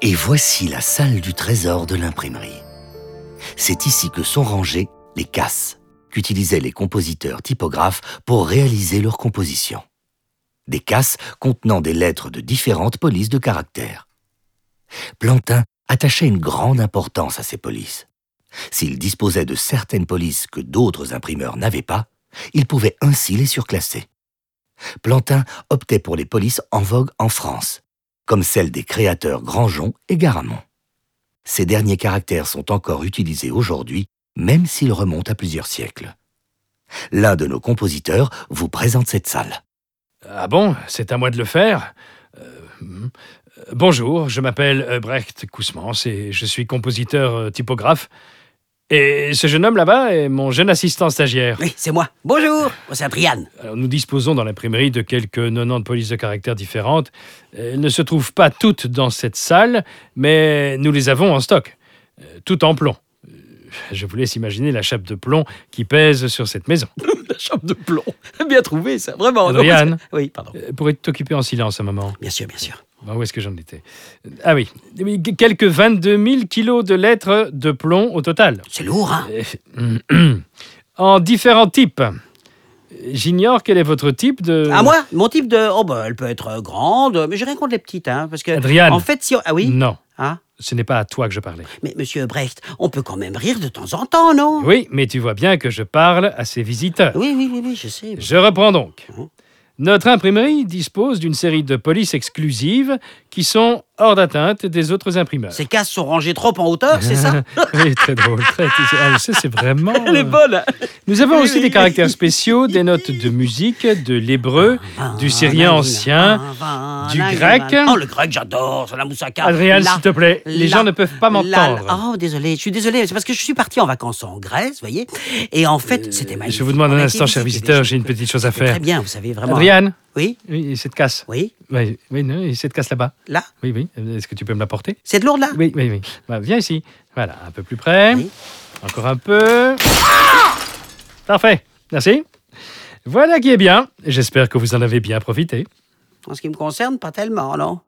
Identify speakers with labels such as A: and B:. A: Et voici la salle du trésor de l'imprimerie. C'est ici que sont rangées les casses qu'utilisaient les compositeurs typographes pour réaliser leurs compositions. Des casses contenant des lettres de différentes polices de caractères. Plantin attachait une grande importance à ces polices. S'il disposait de certaines polices que d'autres imprimeurs n'avaient pas, il pouvait ainsi les surclasser. Plantin optait pour les polices en vogue en France, comme celles des créateurs Grandjon et Garamond. Ces derniers caractères sont encore utilisés aujourd'hui, même s'ils remontent à plusieurs siècles. L'un de nos compositeurs vous présente cette salle.
B: Ah bon, c'est à moi de le faire Euh, Bonjour, je m'appelle euh, Brecht Kousmans et je suis compositeur euh, typographe. Et ce jeune homme là-bas est mon jeune assistant stagiaire.
C: Oui, c'est moi. Bonjour, moi c'est Brian.
B: Alors, nous disposons dans l'imprimerie de quelques 90 polices de caractères différentes. Elles ne se trouvent pas toutes dans cette salle, mais nous les avons en stock, euh, tout en plomb. Euh, Je vous laisse imaginer la chape de plomb qui pèse sur cette maison.
C: La chambre de plomb. Bien trouvé, ça, vraiment.
B: Adriane.
C: Oui, pardon.
B: Euh, Pour être occupé en silence un moment.
C: Bien sûr, bien sûr.
B: Ben, où est-ce que j'en étais Ah oui, mais quelques 22 000 kilos de lettres de plomb au total.
C: C'est lourd, hein
B: Euh, en différents types. J'ignore quel est votre type de.
C: À Ah, moi, mon type de. Oh, bah, elle peut être euh, grande, mais j'ai rien contre les petites, hein. Parce que.
B: Adriane.
C: En fait, si. on- Ah oui
B: Non,
C: Ah,
B: ce n'est pas à toi que je parlais.
C: mais monsieur Brecht, on peut quand même rire de temps en temps, non
B: Oui, mais tu vois bien que je parle à ses visiteurs.
C: Oui, oui, oui, oui, je sais.
B: Je reprends donc.
C: Mhm.
B: Notre imprimerie dispose d'une série de polices exclusives qui sont hors d'atteinte des autres imprimeurs.
C: Ces casses sont rangées trop en hauteur, c'est ça
B: oui, très drôle. Très... Ah, ça, c'est vraiment.
C: Elle est
B: euh,
C: bonne hein
B: Nous avons
C: Oui,
B: aussi
C: oui,
B: des
C: oui.
B: caractères spéciaux, des notes de musique, de l'hébreu,
C: Ah,
B: du syrien ancien. du grec.
C: Oh, le grec, j'adore, c'est la moussaka.
B: Adrien,
C: La-
B: Ah, s'il te plaît, les
C: la-
B: gens ne peuvent pas
C: la-
B: m'entendre.
C: Oh, désolé, je suis désolé, c'est parce que je suis parti en vacances en Grèce, vous voyez, et en fait, c'était magique.
B: Euh, Je vous demande
C: On
B: un
C: a
B: instant,
C: été
B: cher
C: visiter des
B: visiteur,
C: choses.
B: j'ai une petite chose à
C: Très
B: faire.
C: bien, vous savez, vraiment.
B: Adriane,
C: Oui,
B: oui, cette casse.
C: oui,
B: Oui, oui, non, et cette casse là-bas.
C: là,
B: Oui, oui. euh, Est-ce que tu peux me la porter
C: c'est de lourd là
B: Oui, oui, oui. Bah, viens ici. Voilà, un peu plus près.
C: Ah. Oui.
B: Encore un peu. Parfait. Merci. Voilà qui est bien. J'espère que vous en avez bien profité.
C: En ce qui me concerne, pas tellement, non